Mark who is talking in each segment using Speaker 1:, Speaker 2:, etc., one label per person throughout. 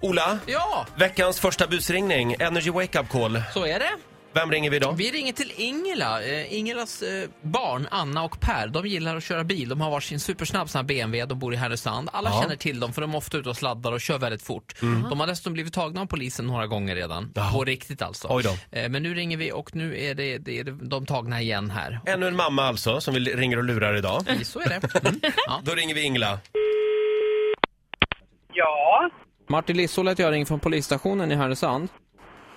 Speaker 1: Ola,
Speaker 2: Ja,
Speaker 1: veckans första busringning, Energy Wake Up Call.
Speaker 2: så är det.
Speaker 1: Vem ringer vi idag?
Speaker 2: Vi ringer till Ingela. Eh, Ingelas eh, barn, Anna och Per, de gillar att köra bil. De har varsin supersnabb sån här BMW, de bor i Härnösand. Alla
Speaker 1: Ja.
Speaker 2: känner till dem för de är ofta ute och sladdar och kör väldigt fort.
Speaker 3: Mhm.
Speaker 2: De har dessutom blivit tagna av polisen några gånger redan. På riktigt alltså.
Speaker 1: Oj då.
Speaker 2: Eh, Men nu ringer vi och nu är det, det är det- de tagna igen här.
Speaker 1: Ännu en mamma alltså, som vi ringer och lurar idag.
Speaker 2: Så är det. Mm. Ja.
Speaker 1: Då ringer vi Ingela.
Speaker 4: Ja,
Speaker 3: Martin Lissol heter jag, ringer från polisstationen i Härnösand.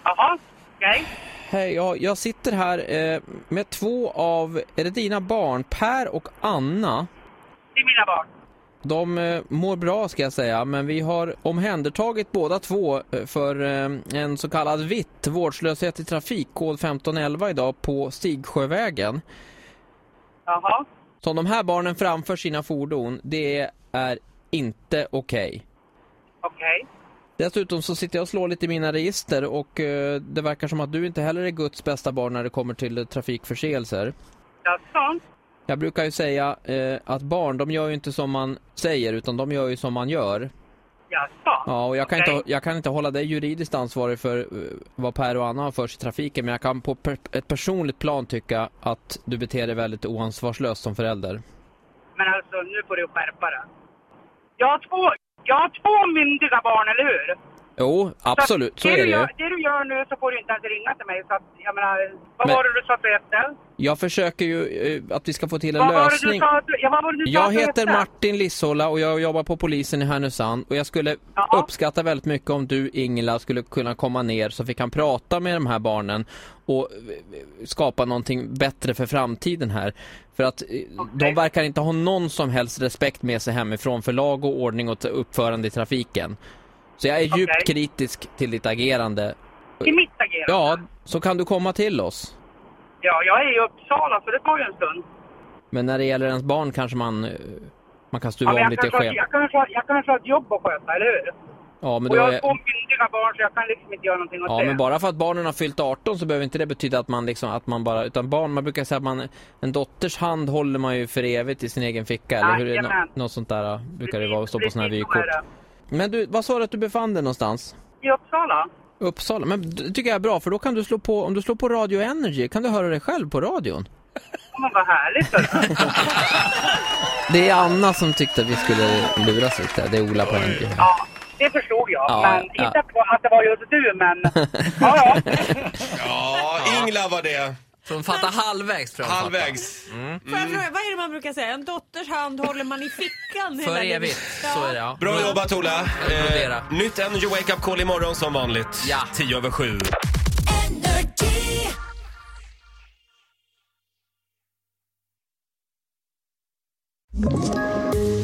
Speaker 4: jaha, okej.
Speaker 3: Hej, jag, jag sitter här eh, med två av, är det dina barn, Per och Anna?
Speaker 4: Det är mina barn.
Speaker 3: De eh, mår bra ska jag säga, men vi har omhändertagit båda två eh, för eh, en så kallad vitt, vårdslöshet i trafik, kod 1511 idag på Stigsjövägen.
Speaker 4: Jaha,
Speaker 3: Så om de här barnen framför sina fordon, det är inte okej.
Speaker 4: okej.
Speaker 3: Dessutom så sitter jag och slår lite i mina register och eh, det verkar som att du inte heller är Guds bästa barn när det kommer till eh, trafikförseelser.
Speaker 4: Jaså?
Speaker 3: Jag brukar ju säga eh, att barn, de gör ju inte som man säger utan de gör ju som man gör.
Speaker 4: Jaså?
Speaker 3: Ja, och jag kan,
Speaker 4: Okej.
Speaker 3: inte, jag kan inte hålla dig juridiskt ansvarig för eh, vad Per och Anna har för sig i trafiken men jag kan på per, ett personligt plan tycka att du beter dig väldigt oansvarslöst som förälder.
Speaker 4: Men alltså, nu får du skärpa dig. Jag har två, jag har två myndiga barn, eller hur?
Speaker 3: Jo, absolut, så
Speaker 4: det
Speaker 3: är
Speaker 4: du
Speaker 3: det ju.
Speaker 4: gör, Det du gör nu så får du inte ens ringa till mig. Så att, jag menar, vad
Speaker 3: Men-
Speaker 4: var det du sa att du hette?
Speaker 3: Jag försöker ju eh, att vi ska få till en
Speaker 4: Vad var det du
Speaker 3: lösning.
Speaker 4: sa att du, ja, vad var det du sa
Speaker 3: Jag
Speaker 4: att du
Speaker 3: heter
Speaker 4: hette?
Speaker 3: Martin Lissola och jag jobbar på polisen i Härnösand och jag skulle
Speaker 4: Ja.
Speaker 3: uppskatta väldigt mycket om du Ingela skulle kunna komma ner så vi kan prata med de här barnen och eh, skapa någonting bättre för framtiden här. För att eh, de verkar inte ha någon som helst respekt med sig hemifrån för lag och ordning och t- uppförande i trafiken. Så jag är djupt
Speaker 4: Okej.
Speaker 3: kritisk till ditt agerande.
Speaker 4: Till mitt agerande?
Speaker 3: Ja, så kan du komma till oss.
Speaker 4: ja. Jag är i Uppsala, så det tar ju en stund.
Speaker 3: Men när det gäller ens barn kanske man, eh, man kan
Speaker 4: Ja,
Speaker 3: stuva
Speaker 4: men
Speaker 3: om
Speaker 4: jag,
Speaker 3: lite
Speaker 4: kanske har,
Speaker 3: skev.
Speaker 4: jag, kanske har, jag kanske har ett jobb att sköta, eller hur?
Speaker 3: Ja, men
Speaker 4: Och
Speaker 3: då
Speaker 4: jag har
Speaker 3: är-
Speaker 4: två myndiga barn, så jag kan liksom inte göra någonting åt
Speaker 3: Ja,
Speaker 4: det.
Speaker 3: men bara för att barnen har fyllt 18 så behöver inte det betyda att man liksom, att man bara, utan barn, man brukar säga att man, en dotters hand håller man ju för evigt i sin egen ficka, eller hur? är det?
Speaker 4: Jajamän.
Speaker 3: Nå- Något sånt där äh, brukar det vara, att stå på
Speaker 4: Precis,
Speaker 3: sådana här
Speaker 4: precis
Speaker 3: vykort.
Speaker 4: så är
Speaker 3: Men du, vad sa du att du befann dig någonstans?
Speaker 4: det. I Uppsala?
Speaker 3: Uppsala? Men det tycker jag är bra, för då kan du slå på, om du slår på Radio Energy, kan du höra dig själv på radion?
Speaker 4: Ja, Men vad härligt. hörru.
Speaker 3: Det är Anna som tyckte att vi skulle luras lite, det är Ola på Energy.
Speaker 4: Ja, det förstod jag.
Speaker 3: Ja,
Speaker 4: men
Speaker 3: ja.
Speaker 4: inte att det var- att det var just du, men... Ja, ja.
Speaker 1: Ja, Ingela var det.
Speaker 2: Från Fatta halvvägs tror jag de fattar.
Speaker 1: Halvvägs.
Speaker 5: Får
Speaker 2: Mm.
Speaker 5: jag fråga, vad är det man brukar säga? En dotters hand håller man i fickan
Speaker 2: För
Speaker 5: hela
Speaker 2: evigt,
Speaker 5: Ja.
Speaker 2: så är det ja.
Speaker 1: Bra jobbat Ola.
Speaker 2: applåderar.
Speaker 1: Eh, nytt Energy Wake Up Call imorgon som vanligt.
Speaker 2: Ja.
Speaker 1: 10 över 7.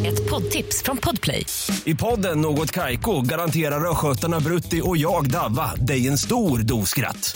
Speaker 6: Ett poddtips från Podplay.
Speaker 7: I podden Något Kaiko garanterar östgötarna Brutti och jag, Davva, dig en stor dos skratt.